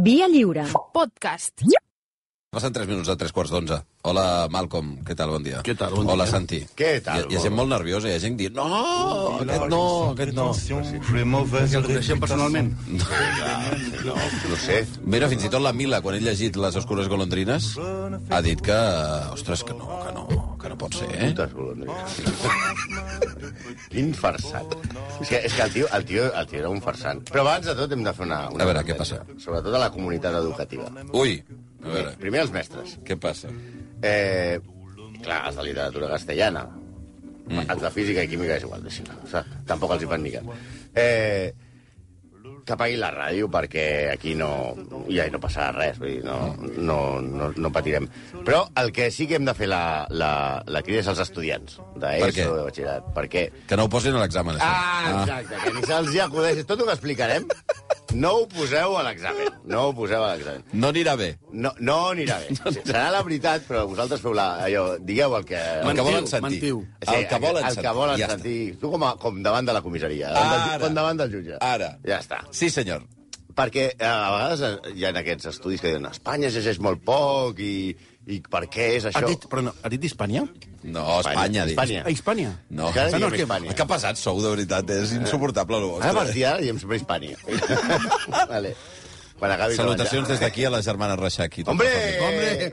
Via lliure. Podcast. Passen 3 minuts de 3 quarts d'11. Hola, Malcolm, què tal, bon dia? Què tal, bon Hola, dia. Santi. Què tal, Hi, ha- hi ha gent molt nerviosa, hi ha gent dient, no, aquest no, aquest no. El coneixem personalment. No sé. Mira, fins i tot la Mila, quan he llegit Les Oscures Golondrines, ha dit que, ostres, que no, que no, que no pot ser, eh? Putas golondrines. Quin farsat. És que, és que el, tio, el, tio, el tio era un farsant. Però abans de tot hem de fer una... una A veure, què advertència, passa? Sobretot a la comunitat educativa. Ui, a veure, Primer els mestres. què passa? Eh, clar, els de literatura castellana. Mm. Els de física i química és igual. Deixi, o sigui, tampoc els hi fan ni cap. Eh, que apaguin la ràdio perquè aquí no, ja hi no passarà res, vull dir, no, no, no, no patirem. Però el que sí que hem de fer la, la, la crida és als estudiants Per què? d'ESO, de batxillerat, perquè... Que no ho posin a l'examen, això. Ah, exacte, que ni se'ls hi acudeix. Tot ho que explicarem, no ho poseu a l'examen. No ho poseu a l'examen. Ah. No anirà bé. No, no anirà bé. Serà la veritat, però vosaltres feu la... Allò, digueu el que... El que Mentiu, volen sentir. mentiu. El que volen el, sentir. que volen ja està. sentir. Tu com, a, com davant de la comissaria, davant del, Ara. ju- com davant del jutge. Ara. Ja està. Sí, senyor. Perquè eh, a vegades eh, hi ha aquests estudis que diuen Espanya es llegeix molt poc i, i per què és Ha això? dit, però no, ha dit Hispània? No, Espanya, dic. Espanya. A Hispània? No, Que ara Espanya, diem Hispània. Que pesat sou, de veritat, Eh? és insuportable. el vostre. Ara a partir d'ara diem sempre Hispània. vale. Quan acabis de Salutacions menjar. des d'aquí a la germana Reixac. i tota Hombre! la família.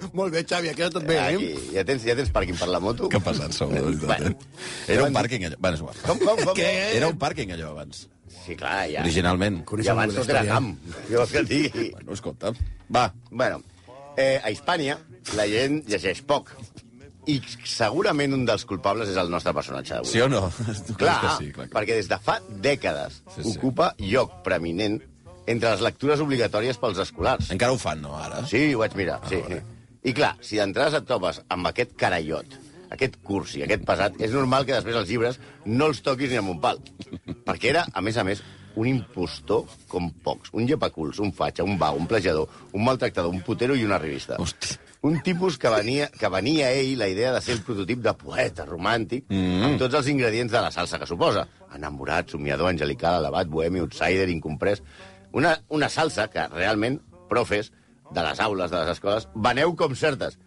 Hombre, molt bé, Xavi, ha quedat tot bé, Aquí, eh? ja tens, ja tens pàrquing per la moto? Que pesat sou, de veritat. Bueno. Doncs, eh? Era un pàrquing, allò. Bueno, és igual. Com, com, com? Què? Era un pàrquing, allò, abans. Sí, clar, ja. Originalment. I abans tot ¿eh? era camp. Jo vols que et digui. Bueno, escolta. Va, Bueno, eh, a Hispània la gent llegeix poc. I segurament un dels culpables és el nostre personatge d'avui. sí o no? Tu creus Clar, que sí, clar. que- perquè des de fa dècades Sí, sí, sí. sí. ocupa lloc preeminent entre les lectures obligatòries pels escolars. Encara ho fan, no, ara? Sí, ho vaig mirar, sí. I clar, si d'entrades et topes amb aquest carallot, aquest cursi, aquest pesat, és normal que després els llibres no els toquis ni amb un pal. Perquè era, a més a més, un impostor com pocs. Un llepaculs, un fatxa, un bau, un plagiador, un maltractador, un putero i una revista. Hosti. Un tipus que venia, que venia a ell la idea de ser el prototip de poeta romàntic, mm. amb tots els ingredients de la salsa que suposa. Enamorat, somiador, angelical, elevat, bohemi, outsider, incomprès... Una, una salsa que realment, profes, de les aules, de les escoles, veneu com certes.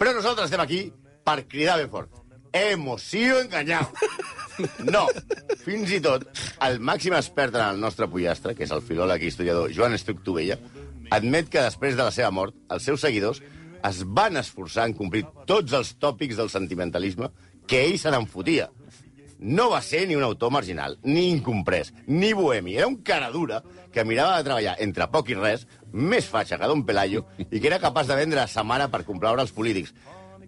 Però nosaltres estem aquí per cridar ben fort. Hemos sido engañados. No, fins i tot el màxim expert en el nostre pollastre, que és el filòleg i historiador Joan Estruc Tovella, admet que després de la seva mort, els seus seguidors es van esforçar en complir tots els tòpics del sentimentalisme que ell se n'enfotia. No va ser ni un autor marginal, ni incomprès, ni bohemi. Era un cara dura que mirava de treballar entre poc i res, més fatxa que Don Pelayo, i que era capaç de vendre sa mare per complaure els polítics.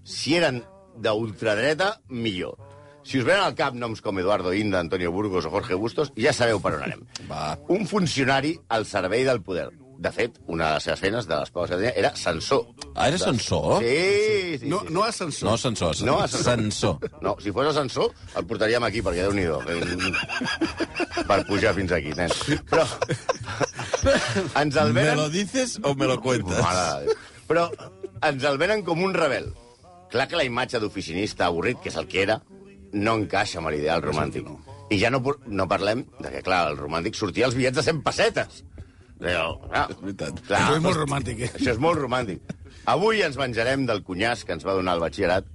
Si eren d'ultradreta, millor. Si us venen al cap noms com Eduardo Inda, Antonio Burgos o Jorge Bustos, ja sabeu per on anem. Va. Un funcionari al servei del poder. De fet, una de les seves feines, de les poques que tenia, era censor. Ah, era censor? Sí, sí, No, sí. no ascensor. No, censor. No, ascensor. Censor. No, si fos ascensor, el portaríem aquí, perquè déu nhi Per pujar fins aquí, nen. Però ens el ¿Me venen... lo dices o me lo cuentas? Mare de Déu. Però ens el venen com un rebel. Clar que la imatge d'oficinista avorrit, que és el que era, no encaixa amb l'ideal romàntic. I ja no, por- no parlem de que, clar, el romàntic sortia als bitllets de 100 pessetes. Però, clar, És veritat. clar, Això és molt romàntic, eh? això és molt romàntic. Avui ens venjarem del cunyàs que ens va donar el batxillerat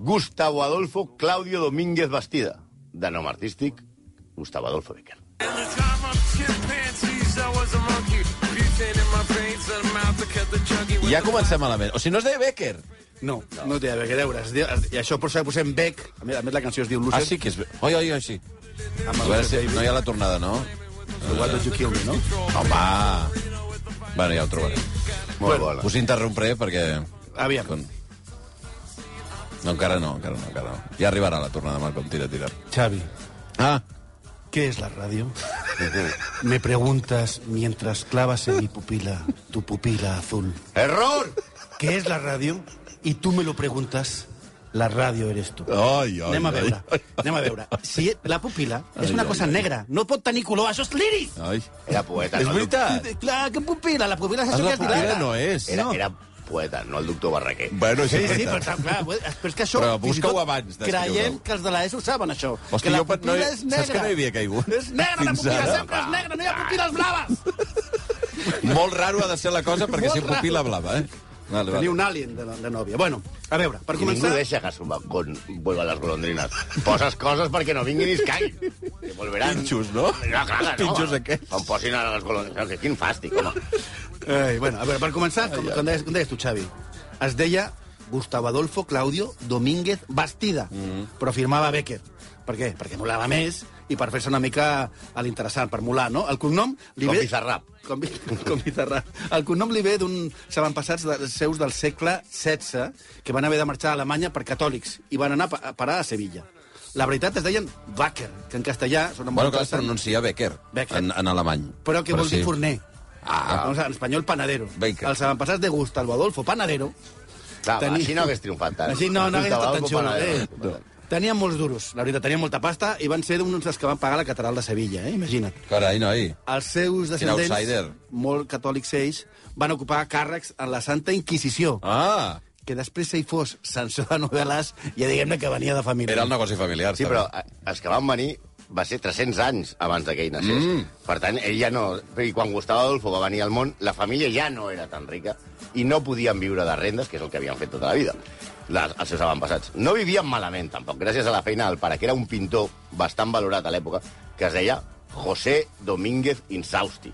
Gustavo Adolfo Claudio Domínguez Bastida, de nom artístic Gustavo Adolfo Becker. In the time of chimpanzees, I was a monkey. Butane in my veins, and mouth to cut the junkie with Ja the comencem malament. O sigui, no es deia Becker. No, no té a veure, que veure. es diu- es- I això per això posem Beck. A més, a més la canció es diu Luces. Ah, sí que és... Oi, oi, oi, sí. Amb A el veure si no hi ha la tornada, no? So Why don't you kill me, no? Home! Bueno, ja ho trobarem. Molt bona. Us interrompré perquè... Aviam. Con- No, encara no, encara no, encara no. Ja arribarà la tornada, Malcom, tira, tira. Xavi, Ah, ¿qué es la radio? Me preguntas mientras clavas en mi pupila tu pupila azul. Error! ¿Qué es la radio? Y tú me lo preguntas, la radio eres tú. Ai, ai, anem a ai, veure, ai, ai. anem a veure. Si la pupila és Ai, una ai, cosa ai. negra, no pot tenir color, això és l'iris! ai. Era poeta. És no el veritat. Clar, que pupila, la pupila és Ah, això la que es pupila dilata. no és. Era, era poeta, no el doctor Barraquer. Bueno, Sí, sí, però, està- clar, però és que això... Però fins i busca-ho tot abans d'escriure-ho. Creiem que els de l'ESO saben això. Hosti, que la jo pe- no pupila he- és saps negra. que no hi havia caigut? És negra, la Fins pupila ara. sempre és negra, no hi ha pupiles blaves. Molt raro ha de ser la cosa perquè Molt ser raro. pupila blava, eh? Vale, Tenia vale. un alien de, de nòvia. Bueno, a veure, per I ningú començar... deixa que s'ho con... vuelvan las golondrinas. Poses coses perquè no vinguin i es caiguin. Que volveran... Pinxos, no? No, clar, que no. Pinxos aquests. Quan posin a les golondrines. Que quin fàstic, home. Ai, bueno, a veure, per començar, com, com, deies, com deies tu, Xavi, es deia Gustavo Adolfo Claudio Domínguez Bastida, Mm. però firmava Becker. Per què? Perquè molava més i per fer-se una mica a l'interessant, per molar, no? El cognom li Com ve... Bizarrap. Com, vi- com Bizarrap. El cognom li ve d'uns avantpassats de, seus del segle XVI que van haver de marxar a Alemanya per catòlics i van anar a pa- a parar a Sevilla. La veritat es deien Baker, que en castellà sona molt Bueno, clar, es interessant, pronuncia Becker, Becker. En, en alemany. però que vol dir forner. Ah. O sigui, en espanyol, panadero. Baker. Els avantpassats de Gustavo Adolfo Panadero Clar, Tenir- així no hagués triomfat tant. Així no, no hagués estat tan xulo. Eh? xulo. Tenien molts duros, la veritat, tenien molta pasta i van ser d'uns dels que van pagar la catedral de Sevilla, eh? imagina't. Carai, noi. Els seus descendents, outsider. molt catòlics ells, van ocupar càrrecs en la Santa Inquisició, Ah, que després ell fos censor de novel·les i ja diguem-ne que venia de família. era el negoci familiar. Sí, però eh, els que van venir va ser 300 anys abans de que ell naixés. Mm. Per tant, ell ja no... I quan Gustavo Adolfo va venir al món, la família ja no era tan rica i no podien viure de rendes, que és el que havien fet tota la vida, les, els seus avantpassats. No vivien malament, tampoc, gràcies a la feina del pare, que era un pintor bastant valorat a l'època, que es deia José Domínguez Insausti.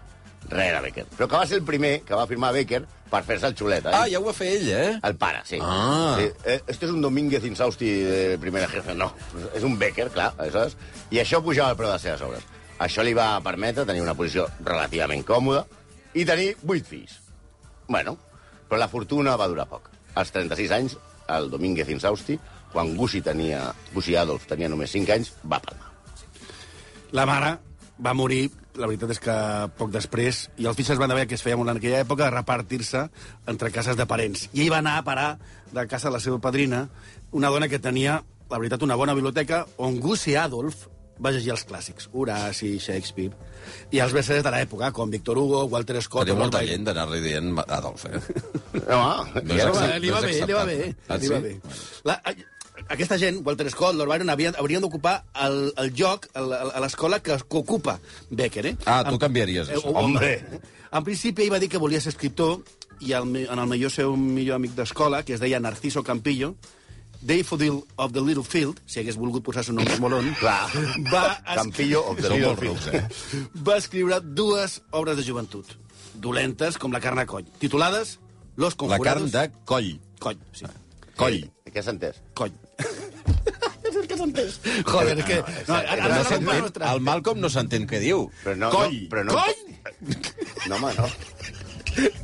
Res era Becker. Però que va ser el primer que va firmar Becker per fer-se el xulet. Eh? Ah, ja ho va fer ell, eh? El pare, sí. Ah. sí. Eh, este és un Domínguez Insausti de primera jefe. No, és un Becker, clar, aleshores. I això pujava el preu de les seves obres. Això li va permetre tenir una posició relativament còmoda i tenir vuit fills. Bueno, però la fortuna va durar poc. Als 36 anys, el Domínguez Insausti, quan Gussi tenia... Gussi Adolf tenia només 5 anys, va palmar. La mare va morir, la veritat és que poc després, i els fills es van haver, que es feia molt en aquella època, de repartir-se entre cases de parents. I ell va anar a parar de casa de la seva padrina, una dona que tenia, la veritat, una bona biblioteca, on Gussi Adolf va llegir els clàssics, Horaci, Shakespeare, i els versers de l'època, com Victor Hugo, Walter Scott... Tenia molta Robert gent d'anar-li dient Adolf, eh? No, ah, No és ja exacte. no va- Eh, li va bé, li va bé. Ah, Li va sí? bé. La, a- aquesta gent, Walter Scott, Lord Byron, havien, haurien d'ocupar el, el lloc el- el- a l'escola que, que ocupa Becker, eh? Ah, tu En- canviaries Eh, això. Hombre. En principi, ell va dir que volia ser escriptor i el, me- en el millor seu millor amic d'escola, que es deia Narciso Campillo, Daffodil of the Little Field, si hagués volgut posar el seu nom molon, Clar. va, es, Campillo of the Són Little molt rucs, eh? va escriure dues obres de joventut, dolentes com la carn a coll, titulades Los La carn Conjurados... de coll. Coll, sí. Coll. Què s'ha entès? Coll. és el que s'entès. Joder, és que... No, ara, ara, No ara, s'entén, el Malcolm no s'entén què diu. Però no, coll. No, però no, No, home, no.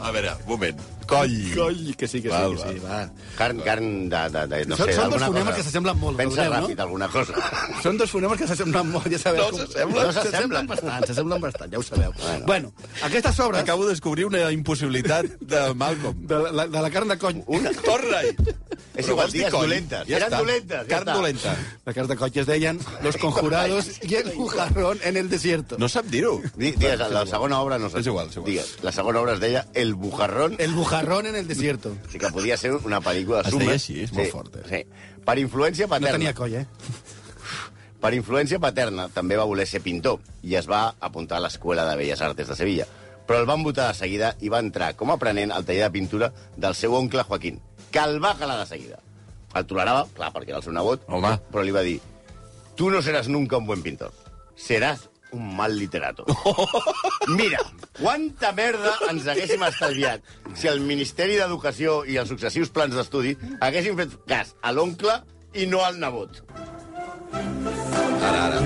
A veure, un moment. Coll. Coll, que sí, que sí, Val, que sí, va. Carn, carn de, de, de no Són- sé, són d'alguna dos fonemes cosa. que s'assemblen molt, Pensa veureu, no? ràpid alguna cosa. Són dos fonemes que s'assemblen molt, ja sabeu. No com- s'assemblen. No s'assemblen bastant, s'assemblen bastant, ja ho sabeu. Bueno, bueno aquestes obres Acabo de descobrir una impossibilitat de Malcolm. de la, de la carn de coll... Una. Torna-hi. És Però igual, vols dir digues coll? dolentes. Eren està. dolentes, ja Carn està. dolenta. La carn de coll que es deien Los conjurados y el bujarrón en el desierto. No sap dir-ho. Di- Digues, la segona obra no sé. És igual, és igual. Digues, la segona obra es deia El Bujarrón. El... El bujarrón en el desierto. O sigui que podia ser una pel·lícula de Es Sumer. deia així, és molt fort, eh? Sí. Per influència No paterna. tenia coll, eh? Per influència paterna, també va voler ser pintor i es va apuntar a l'Escola de Belles Artes de Sevilla. Però el van votar de seguida i va entrar com a aprenent al taller de pintura del seu oncle Joaquín, que el va calar de seguida. El tolerava, clar, perquè era el seu nebot, Home. però li va dir tu no seràs nunca un buen pintor, seràs un mal literato. Mira, quanta merda ens haguéssim estalviat si el Ministeri d'Educació i els successius plans d'estudi haguessin fet cas a l'oncle i no al nebot. Ara, ara.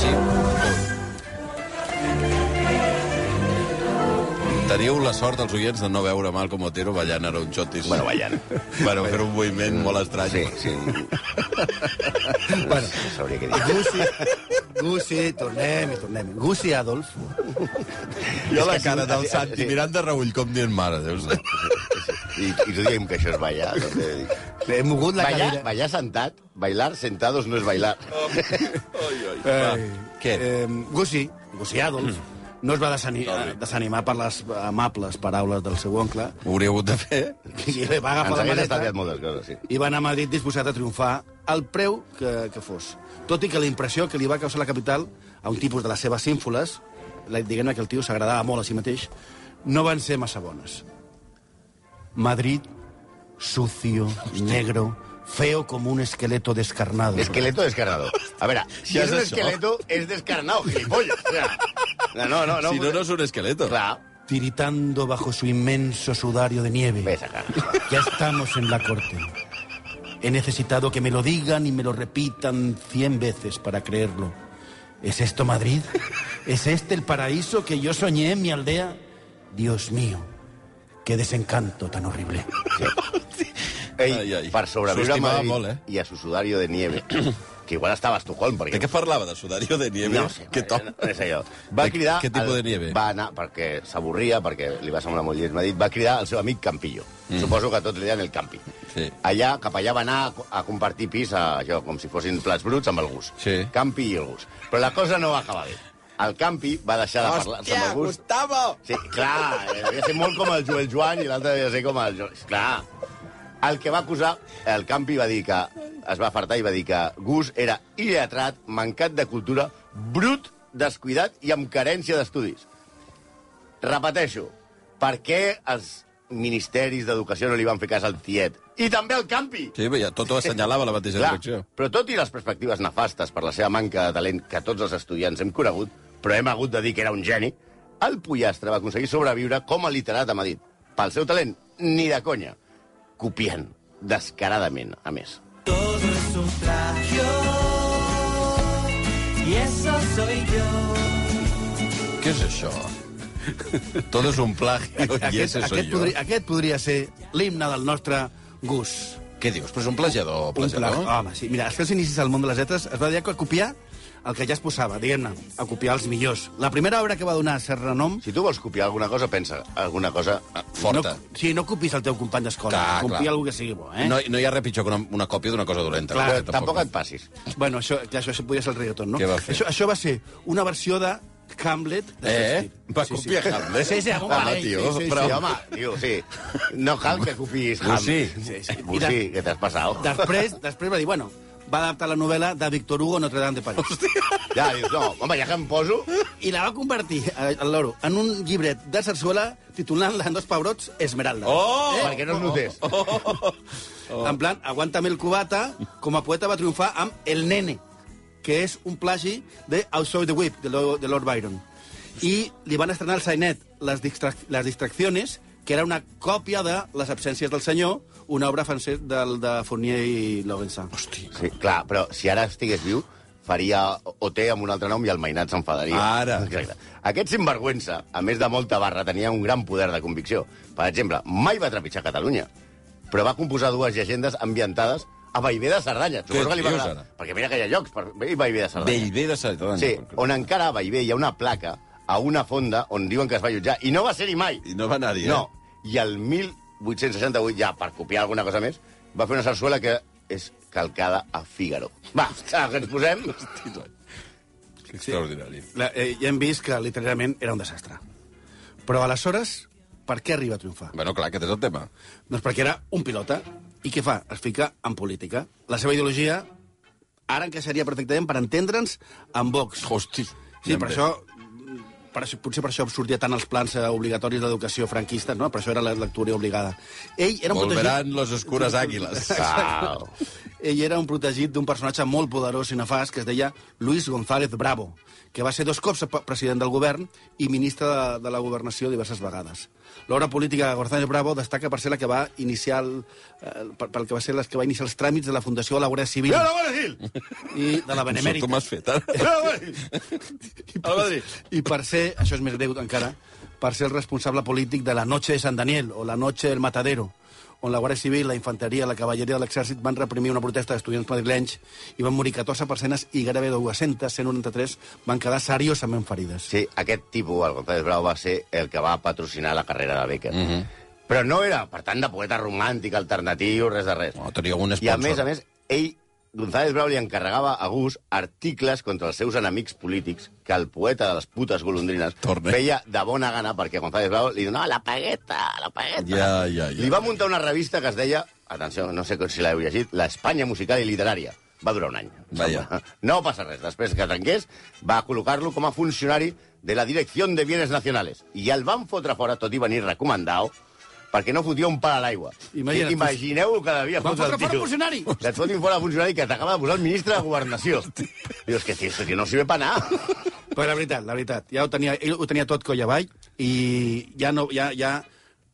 Sí. Teniu la sort, els oients, de no veure Malcom Otero ballant a Aronchotis. Bueno, ballant. Bueno, fer un moviment molt estrany. Sí, sí. bueno, sabria què dir. Gussi, Gussi, tornem i tornem. Gussi Adolf Jo És la que cara sí, del sí, Santi sí. mirant de reull com dient mare, déu sí. I, i tu diguem que això és ballar. També. He mogut la Ballar, cadira. ballar sentat, bailar sentados no és bailar. Oh, Eh, Què? Eh, Gussi, Gussi Adolf, Mm. no es va desani eh, desanimar per les amables paraules del seu oncle Ho hauria hagut de fer. i li va agafar Ens la hagués maleta estalviat moltes coses, sí. i va anar a Madrid disposat a triomfar al preu que, que fos. Tot i que la impressió que li va causar la capital a un tipus de les seves ínfoles la- diguem-ne que el tio s'agradava molt a si mateix, no van ser massa bones. Madrid, sucio, negro, feo como un esqueleto descarnado. Esqueleto descarnado. A veure, si Ja és és un això. esqueleto, és descarnado, gilipolles. O sea, no, no, no. No, si no, no és un esqueleto. Clar, Tiritando bajo su inmenso sudario de nieve. ves acá. Ya estamos en la corte. He necesitado que me lo digan y me lo repitan cien veces para creerlo. ¿Es esto Madrid? ¿Es este el paraíso que yo soñé en mi aldea? Dios mío, qué desencanto tan horrible. Ei, Ai, ai. per sobreviure a S'estimava Madrid molt, eh? i a su sudario de nieve, que igual estava a Estocolm, perquè... De què parlava? De sudario de nieve? No sé, que no, top. no sé jo. Va De cridar... Què tipus al- de nieve? Va anar, perquè s'avorria, perquè li va semblar molt llest. M'ha dit, va cridar al seu amic Campillo. Mm. Suposo que tots li deien el Campi. Sí. Allà, cap allà va anar a, co- a compartir pis, a, allò, com si fossin plats bruts, amb el gust. Sí. Campi i el gust. Però la cosa no va acabar bé. El Campi va deixar de parlar amb el gust. Gustavo! Sí, clar, eh, devia ser molt com el Joel Joan i l'altre devia ser com el Joel... Clar. El que va acusar, el Campi va dir que es va fartar i va dir que Gus era il·letrat, mancat de cultura, brut, descuidat i amb carència d'estudis. Repeteixo, per què els ministeris d'educació no li van fer cas al tiet? I també al Campi! Sí, bé, ja tot ho assenyalava la mateixa Clar, direcció. però tot i les perspectives nefastes per la seva manca de talent que tots els estudiants hem conegut, però hem hagut de dir que era un geni, el pollastre va aconseguir sobreviure com a literat a Madrid. Pel seu talent, ni de conya. Copiant, descaradament, a més. Todo es un plagio y eso soy yo. Què és això? Tot és un plagio i ese soy aquest, jo. podria, aquest podria ser l'himne del nostre gust. Què dius? Però és un plagiador, Un pla... Ah, plagiador? Pues Home, sí. Mira, és que als inicis del món de les lletres es va dir que a copiar el que ja es posava, diguem-ne, a copiar els millors. La primera obra que va donar cert renom... Si tu vols copiar alguna cosa, pensa alguna cosa... eh, Forta. No, sí, no copis el teu company d'escola. Clar, Copia clar. algú que sigui bo, eh? No, no hi ha res pitjor que una, una còpia d'una cosa dolenta. Clar, Perquè Però tampoc et passis. Bueno, això, clar, això, això podia ser el reggaeton, no? Què va fer? Això, això va ser una versió de Hamlet de Eh? Shakespeare. Va copiar Hamlet? Sí, sí, algun Ah, parell, tio, sí, sí, però- Sí, home, tio, sí. No cal que copiïs Ham. Bussí. Sí, sí. I Bussí, que t'has passat. Després, després va dir, bueno, va adaptar la novel·la de Victor Hugo Notre Dame de París. Ja, dius, no, home, ja que em poso... I la va convertir, eh, el loro, en un llibret de sarsuela titulant-la en dos pebrots Esmeralda. Oh! perquè no es notés. Oh. En plan, aguántame el cubata, com a poeta va triomfar amb El nene, que és un plagi de Outside the Whip, de, Lo- de Lord Byron. I li van estrenar al Sainet les, distrac les distraccions, que era una còpia de Les absències del senyor, una obra francès del, de Fournier i Lovensa. Hosti. Sí, clar, però si ara estigués viu, faria OT amb un altre nom i el mainat s'enfadaria. Ara. Exacte. Aquest sinvergüenza, a més de molta barra, tenia un gran poder de convicció. Per exemple, mai va trepitjar Catalunya, però va composar dues llegendes ambientades a Baivé de Cerdanya. Suposo que li va dius, agradar, ara? perquè mira que hi ha llocs per i Baivé de Cerdanya. Bellver de doncs, Cerdanya. Sí, on encara a Baivé hi ha una placa a una fonda on diuen que es va allotjar, i no va ser-hi mai. I no va anar-hi, eh? No, i el 1868, ja per copiar alguna cosa més, va fer una sarsuela que és calcada a Fígaro. Va, ara que ens posem... Extraordinari. La, eh, ja hem vist que literalment era un desastre. Però aleshores, per què arriba a triomfar? Bueno, clar, aquest és el tema. Doncs perquè era un pilota. I què fa? Es fica en política. La seva ideologia ara encaixaria perfectament per entendre'ns amb Vox. Hosti. Sí, per això, per això, potser per això sortia tant els plans eh, obligatoris d'educació franquista, no? per això era la lectura obligada. Ell era un Volverán protegit... los oscuras águilas. Ah, Ell era un protegit d'un personatge molt poderós i nefast que es deia Luis González Bravo, que va ser dos cops pre- president del govern i ministre de, de la governació diverses vegades. L'obra política de González Bravo destaca per ser la que va iniciar el, eh, pel, pel que va ser les que va iniciar els tràmits de la Fundació de la Guàrdia Civil i de la Sort Benemèrita. com has fet, ara. I per, Al Madrid. I per ser, això és més greu encara, per ser el responsable polític de la Noche de San Daniel o la Noche del Matadero, on la Guàrdia Civil, la Infanteria, la Cavalleria de l'Exèrcit van reprimir una protesta d'estudiants madrilenys i van morir 14 persones i gairebé 200, 193, van quedar seriosament ferides. sí, aquest tipus, el González Bravo, va ser el que va patrocinar la carrera de Becker. Mm Mhm. -hmm. Però no era, per tant, de poeta romàntic, alternatiu, res de res. No, tenia un I a sponsor. més, a més, ell, González Brau, li encarregava a gust articles contra els seus enemics polítics que el poeta de les putes golondrines Torne. feia de bona gana perquè González Brau li donava la pagueta, la pagueta. Ja, ja, ja. Li va muntar una revista que es deia, atenció, no sé si l'heu llegit, l'Espanya Musical i Literària. Va durar un any. Vaja. No passa res. Després que trenqués, va col·locar-lo com a funcionari de la Direcció de Bienes Nacionales. I el van fotre fora, tot i venir recomandat, perquè no fotia un pal a l'aigua. Imagina't. Imagineu el que devia Van fotre el fotre fora tio. funcionari. Que et fotin fora funcionari que t'acaba de posar el ministre de Governació. Dius que, tio, que no s'hi ve per anar. Però la veritat, la veritat, ja ho tenia, ell ho tenia tot coll avall i ja no, ja, ja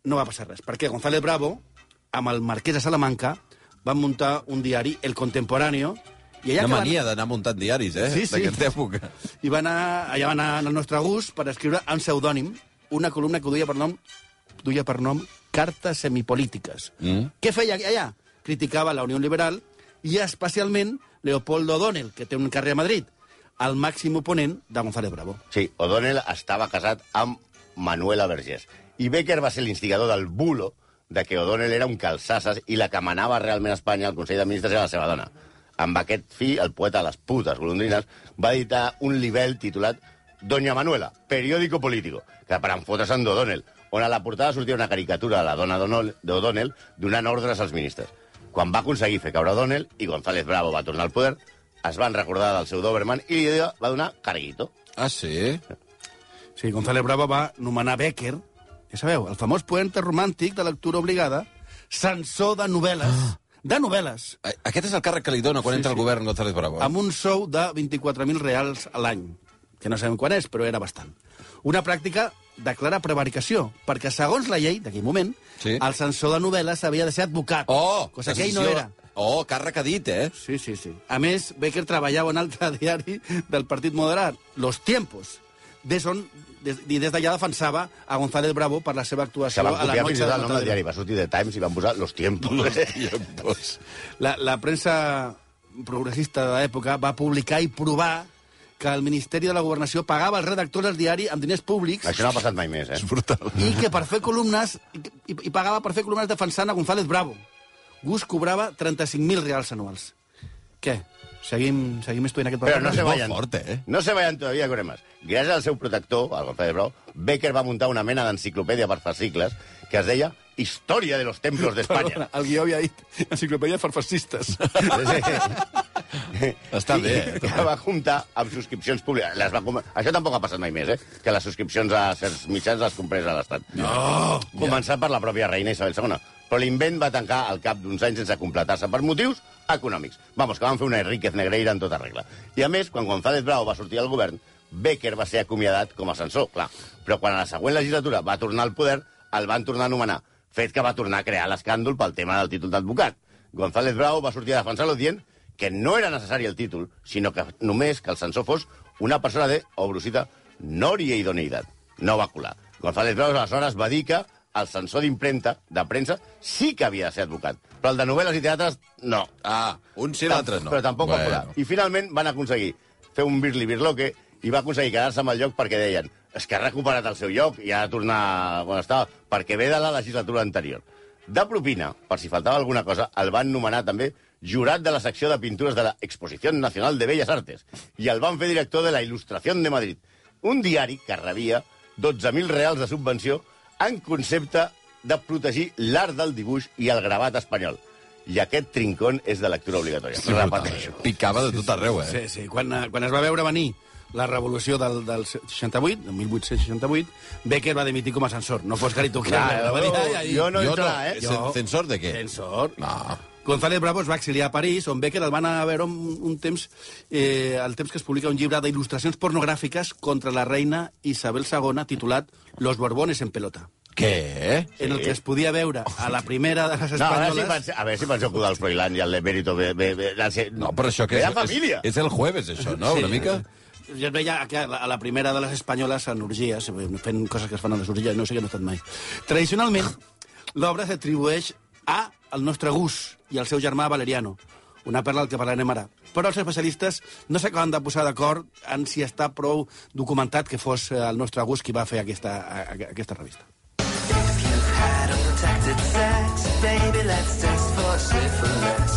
no va passar res. Perquè González Bravo, amb el marquès de Salamanca, van muntar un diari, El Contemporáneo, i allà, Una que mania d'anar muntant diaris, eh? Sí, sí. D'aquesta època. van, i va anar, allà va anar al nostre gust per escriure en pseudònim una columna que duia per nom, duia per nom Cartes semipolítiques. Mm. Què feia allà? Criticava la Unió Liberal i especialment Leopoldo O'Donnell, que té un carrer a Madrid, el màxim oponent de González Bravo. Sí, O'Donnell estava casat amb Manuela Vergés. I Becker va ser l'instigador del bulo de que O'Donnell era un calçasses i la que manava realment a Espanya al Consell de Ministres era la seva dona. Amb aquest fi, el poeta de les putes golondrines va editar un libel titulat Doña Manuela, periódico político, que per enfotre's en O'Donnell, on a la portada sortia una caricatura de la dona d'O'Donnell- d'O'Donnell donant ordres als ministres. Quan va aconseguir fer caure O'Donnell i González Bravo va tornar al poder, es van recordar del seu Doberman i li va donar carguito. Ah, sí? Sí, González Bravo va nomenar Becker, ja sabeu, el famós poeta romàntic de lectura obligada, censor de novel·les, de novel·les, A- Aquest és el càrrec que li dona quan Sí, entra sí. al govern González Bravo. eh? amb un sou de 24.000 reals a l'any, que no sabem quan és, però era bastant. Una pràctica de clara prevaricació, perquè segons la llei d'aquell moment, Sí. el censor de novel·les havia de ser advocat, Oh! cosa que ell no decisió- era. Oh, càrrec ha dit, eh? Sí, sí, sí. A més, Becker treballava en altre diari del Partit Moderat, Los Tiempos, des on, des, i des d'allà defensava a González Bravo per la seva Se actuació van a la copiar fins noche i de tot el nom del Matadero. diari. Va sortir de Times i van posar Los Tiempos. Tiempos. La, la premsa progressista de l'època va publicar i provar que el Ministeri de la Governació pagava els redactors del diari amb diners públics Això no ha passat mai més, eh? Brutal. i que per fer columnes i, i, i pagava per fer columnes defensant a González Bravo. Gus cobrava 35.000 reals anuals. Què? Seguim, seguim estudiant aquest Però paper? no se molt vayan. fort, eh? No se vayan todavía, Coremas. Gràcies al seu protector, al González Brau, Becker va muntar una mena d'enciclopèdia per fascicles que es deia Història de los Templos d'Espanya. Perdona, el guió havia dit enciclopèdia per fascistes. Sí. Està bé, eh? Que va comptar amb subscripcions públiques. Les va com... Això tampoc ha passat mai més, eh? Que les subscripcions a certs mitjans les comprés a l'Estat. No! Començat per la pròpia reina Isabel II. Però l'invent va tancar al cap d'uns anys sense completar-se per motius econòmics. Vamos, que van fer una Enríquez Negreira en tota regla. I a més, quan González Bravo va sortir del govern, Becker va ser acomiadat com a censor, clar. Però quan a la següent legislatura va tornar al poder, el van tornar a nomenar. Fet que va tornar a crear l'escàndol pel tema del títol d'advocat. González Bravo va sortir a defensar-lo dient que no era necessari el títol, sinó que només que el censor fos una persona de, obro cita, nòria idoneïtat. No va colar. González Bravo aleshores va dir que el censor d'impremta, de premsa, sí que havia de ser advocat, però el de novel·les i teatres, no. Ah, un sí, l'altre no. Però tampoc Bueno. va colar. I finalment van aconseguir fer un birli birloque i va aconseguir quedar-se amb el lloc perquè deien és que ha recuperat el seu lloc i ha de tornar on estava, perquè ve de la legislatura anterior. De propina, per si faltava alguna cosa, el van nomenar també jurat de la secció de pintures de la Exposició Nacional de Belles Artes i el van fer director de la Il·lustració de Madrid, un diari que rebia 12.000 reals de subvenció en concepte de protegir l'art del dibuix i el gravat espanyol. I aquest trincón és de lectura obligatòria. Sí, brutal. Picava de tot arreu, eh? Sí, sí. Quan, eh, quan es va veure venir la revolució del, del 68, del 1868, Becker va dimitir com a censor. No fos Carito Kerr. Clar, va dir, jo- "Ai, ai, jo no entra, eh? Jo- Censor de què? Censor. No. González Bravo es va exiliar a París, on Becker el van anar a veure un, un temps, eh, el temps que es publica un llibre d'il·lustracions pornogràfiques contra la reina Isabel II, titulat Los Borbones en pelota, Què? sí. en el que es podia veure a la primera de les No, a veure espanyoles... si penseu, a veure si penseu que del Froilán i el de Mérito... Be, be, be, la, se... No, però això que Era és, família. és, és el jueves, això, no? Una mica? Jo et veia que a la- a la primera de les espanyoles en orgies, fent coses que es fan a les orgies, no sé què no he estat mai. Tradicionalment, l'obra s'atribueix a el nostre gust i al seu germà Valeriano, una perla del que parlarem ara. Però els especialistes no s'acaben de posar d'acord en si està prou documentat que fos eh, el nostre gust qui va fer aquesta, a- a- aquesta revista. Had unprotected sex, baby, let's test for syphilis.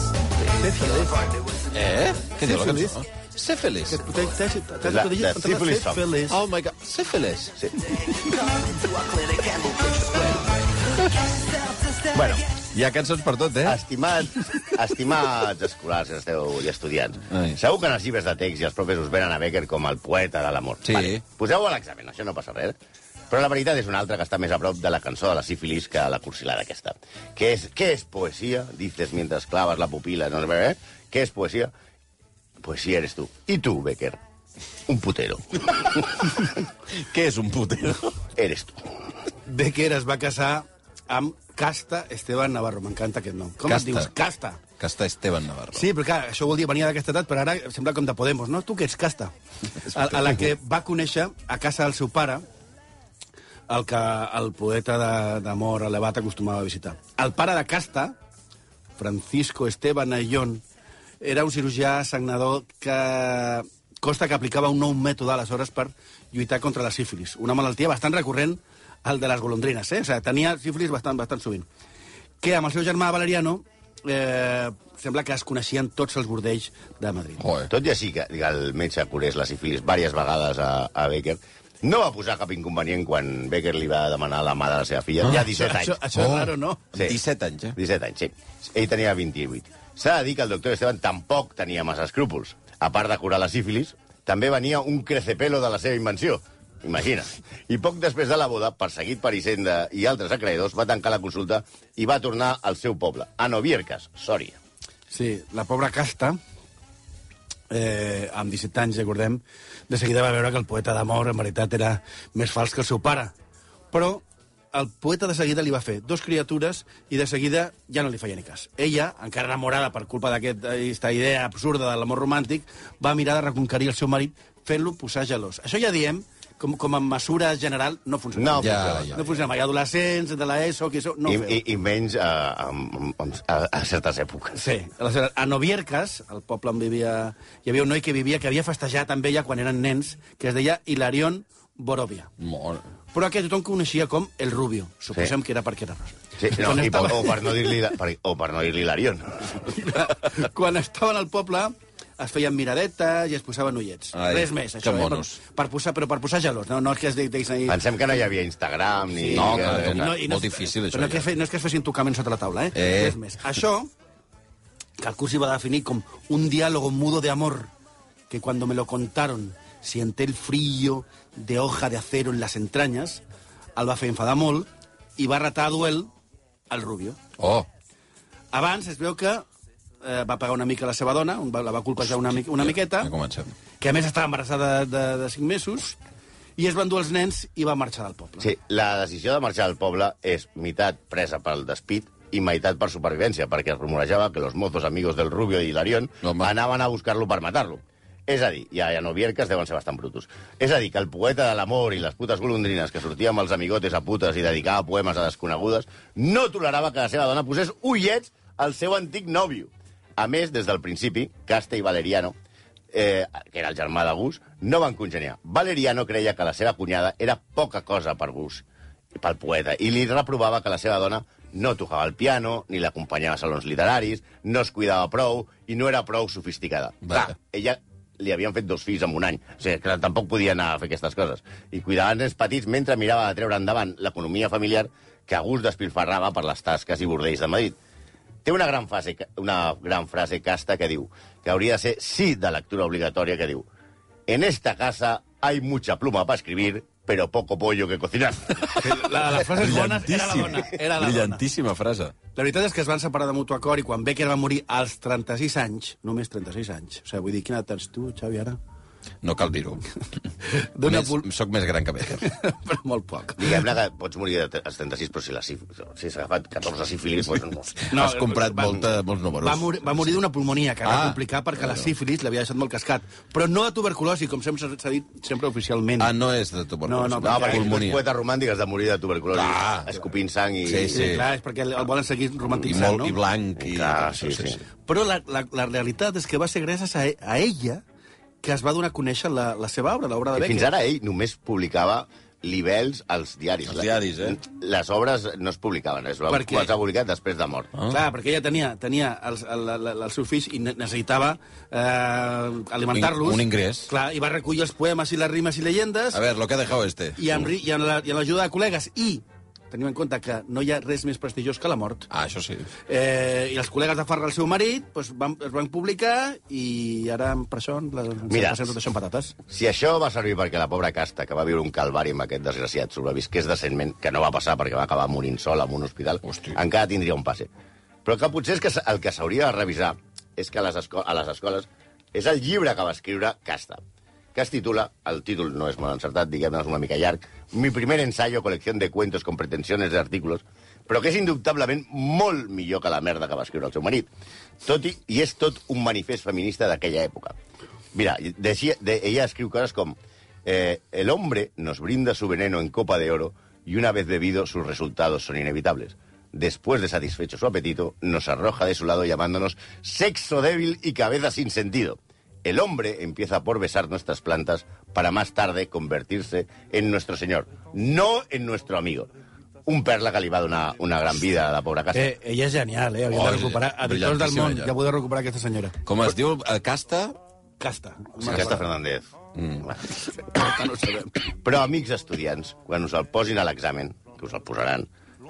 If you find it was an Eh? Què diu la cançó? Sífilis. la- la sífilis song. Oh my God, sífilis. come into our clinic and we'll put you square. Get yourself to step Bueno, Hi ha cançons per tot, Ah, eh? Eh? Estimats, estimats escolars que esteu i estudiants, Ai. sabeu que en els llibres de text i els profes us venen a Becker com el poeta de l'amor. Sí. Poseu-ho a l'examen, això no passa res. eh? Però la veritat és una altra que està més a prop de la cançó de la sífilis que la cursilada aquesta. Què és, què és poesia? Dices mentre claves la pupila. No sé, eh? Què és poesia? Poesia eres tu. I tu, Becker, un putero. Què és un putero? eres tu. Becker es va casar amb Casta Esteban Navarro. M'encanta aquest nom. Com Casta. et dius? Casta. Que està Esteban Navarro. Sí, però clar, això vol dir venia d'aquesta edat, però ara sembla com de Podemos, no? Tu que ets Casta. A, a la que va conèixer a casa del seu pare, el que el poeta de- d'amor elevat acostumava a visitar. El pare de Casta, Francisco Esteban Ayllón, era un cirurgià sagnador que consta que aplicava un nou mètode aleshores per lluitar contra la sífilis, una malaltia bastant recurrent al de les golondrines, eh? O sigui, tenia sífilis bastant, bastant sovint. Que amb el seu germà Valeriano eh, sembla que es coneixien tots els bordells de Madrid. Joder. Tot i així que que el metge curés la sífilis diverses vegades a, a Becker, no va posar cap inconvenient quan Becker li va demanar la mà de la seva filla. Ah. ja 17 anys. Això, això és raro, no? Sí. 17 Oh, anys, eh? 17 anys, sí. Ell tenia 28. S'ha de dir que el doctor Esteban tampoc tenia massa escrúpols. A part de curar la sífilis, també venia un crecepelo de la seva invenció. Imagina. I poc després de la boda, perseguit per Hisenda i altres acreedors, va tancar la consulta i va tornar al seu poble, a Novierques, Sòria. Sí, la pobra Casta, eh, amb 17 anys, recordem, de seguida va veure que el poeta d'amor en veritat era més fals que el seu pare. Però el poeta de seguida li va fer dos criatures i de seguida ja no li feia ni cas. Ella, encara enamorada per culpa d'aquesta idea absurda de l'amor romàntic, va mirar de reconquerir el seu marit fent-lo posar gelós. Això ja diem, com, com a mesura general, no funciona. No Ja, funciona. ja, no funciona mai. Adolescents, de l'ESO, que això... No I, ho feu. i, I menys eh, a, a, a, a, a certes èpoques. Sí, aleshores, a Novierques, el poble on vivia... Hi havia un noi que vivia, que havia festejat amb ella quan eren nens, que es deia Hilarion Borovia. Molt. Però aquest tothom coneixia com el Rubio. Suposem sí. que era perquè era rosa. Sí, no, Quan i per, estava- o per no dir-li la- per- o per no dir-li l'Arion. quan estaven al poble es feien miradetes i es posaven ullets. Ai, Res més, que això, eh? monos. per, per posar, però per posar gelós, no, no és que es deguis... Pensem que no hi havia Instagram ni... Sí. No, clar, eh, no. molt difícil, això, Però no, ja. que fe, no és que es fessin tocaments sota la taula, eh? Eh. Res més. Això, que el cursi va definir com un diálogo mudo de amor, que cuando me lo contaron siente el frío de hoja de acero en las entrañas, el va fer enfadar molt i va retar a duel al Rubio. Oh, Abans es veu que eh, va pagar una mica la seva dona, un- la va colpejar una, mi- una miqueta, ja comencem. que a més estava embarassada de, de, de 5 mesos, i es van dur els nens i va marxar del poble. Sí, la decisió de marxar del poble és meitat presa pel despit i meitat per supervivència, perquè es rumorejava que los mozos amigos del Rubio i l'Arion Home. anaven a buscar-lo per matar-lo. És a dir, ja, ja no vierques deuen ser bastant brutos. És a dir, que el poeta de l'amor i les putes golondrines que sortia amb els amigotes a putes i dedicava poemes a desconegudes no tolerava que la seva dona posés ullets al seu antic nòvio. A més, des del principi, Casta i Valeriano eh, que era el germà d'August, no van congeniar. Valeriano creia que la seva cunyada era poca cosa per Gus, pel poeta, i li reprovava que la seva dona no tocava el piano, ni l'acompanyava a salons literaris, no es cuidava prou i no era prou sofisticada. Vaja. Clar, ella li havien fet dos fills en un any. O sigui, clar, tampoc podia anar a fer aquestes coses. I cuidava els nens petits mentre mirava de treure endavant l'economia familiar que August despilfarrava per les tasques i bordells de Madrid. Té una gran, fase, una gran frase casta que diu, que hauria de ser sí de lectura obligatòria, que diu En esta casa hay mucha pluma para escribir, pero poco pollo que cocinar. La, la frase bona era la dona. Era la dona. brillantíssima frase. La veritat és que es van separar de mutu acord i quan Becker va morir als 36 anys, només 36 anys, o sigui, vull dir, quina edat tens tu, Xavi, ara? No cal dir-ho. Dona Més- pul... Soc més gran que Becker. però molt poc. Diguem-ne que pots morir de- als 36, però si la síf- si s'ha agafat 14 sífilis, doncs no. Has comprat molta, molts números. Va, mor va morir d'una pulmonia que ah, Ah. va complicar perquè la sífilis l'havia deixat molt cascat. Però no de tuberculosi, com sempre s'ha dit sempre oficialment. Ah, no és de tuberculosi. Ah, No, no, No, perquè pulmonia. pulmonia. poeta romàntic has de morir de tuberculosi, Clar. escopint sang i... Sí, sí, sí. Clar, és perquè el volen seguir I, romantitzant, molt, no? I blanc. I... Clar, sí, sí. Però la, la, la realitat és que va ser gràcies a, a ella que es va donar a conèixer la, la seva obra, l'obra de I Becker. fins ara ell només publicava libels als diaris. Als diaris, eh? Les obres no es publicaven, es va Per què? es va publicar després de mort. Ah. Clar, perquè ella tenia, tenia els, el, el, el, els seus fills i ne- necessitava eh, alimentar-los. Un- un ingrés. Clar, i va recollir els poemes i les rimes i llegendes A ver, lo que ha dejado este. i amb, ri- i amb la- i amb l'ajuda de col·legues i tenim en compte que no hi ha res més prestigiós que la mort. Ah, això sí. Eh, I els col·legues de Farra, el seu marit, doncs, van, es van publicar i ara per això la, ens Mira. passem tot això en patates. Si això va servir perquè la pobra casta, que va viure un calvari amb aquest desgraciat, sobrevisqués decentment, que no va passar perquè va acabar morint sola en un hospital, Hosti. encara tindria un passe. Però que potser és que s- el que s'hauria de revisar és que a les, esco a les escoles és el llibre que va escriure Casta, que es titula, el títol no és molt encertat, diguem-ne, és una mica llarg, Mi primer ensayo, colección de cuentos con pretensiones de artículos, però que és indubtablement molt millor que la merda que va escriure el seu marit. Tot i, I és tot un manifest feminista d'aquella època. Mira, decía, de, ella escribe cosas como... eh, el hombre nos brinda su veneno en copa de oro y una vez bebido sus resultados son inevitables. Después de satisfecho su apetito, nos arroja de su lado llamándonos sexo débil y cabeza sin sentido. El hombre empieza por besar nuestras plantas para más tarde convertirse en nuestro señor, no en nuestro amigo. Un perla que le va a dar una, una gran vida a la pobre casa. Eh, ella és genial, eh? Havíem Oh, de recuperar és a editors del brillantíssima, món. ella. Ja podeu recuperar aquesta senyora. Com es diu? eh, Casta? Casta. Sí, Casta Fernández. Mm. Però, amics estudiants, quan us el posin a l'examen, que us el posaran,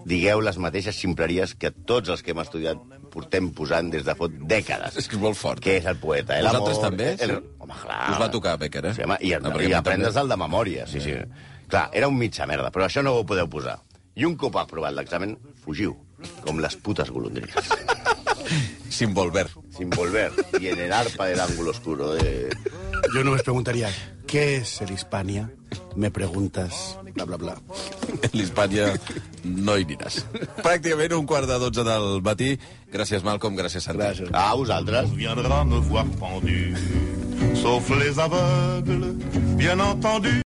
digueu les mateixes ximpleries que tots els que hem estudiat portem posant des de fot dècades. És que és molt fort. Què és el poeta? El Vosaltres amor, també? El... Sí. Home, clar. Us va tocar, Becker, eh? Sí, home, i, No, no, perquè a i mi aprendre's també. el de memòria, sí, sí. Clar, era un mitja merda, però això no ho podeu posar. I un cop aprovat l'examen, fugiu, com les putes golondrines. eh? Simbolver. Sin volver, y en el arpa del ángulo oscuro de... Jo només preguntaria, què és el Hispània? Me preguntes, bla, bla, bla. En l'Hispània no hi aniràs. Pràcticament un quart de dotze del matí. Gràcies, Malcolm. Gràcies, Santi. Gràcies. A Ah, vosaltres. viendra me voir pendu, sauf les aveugles, bien entendu.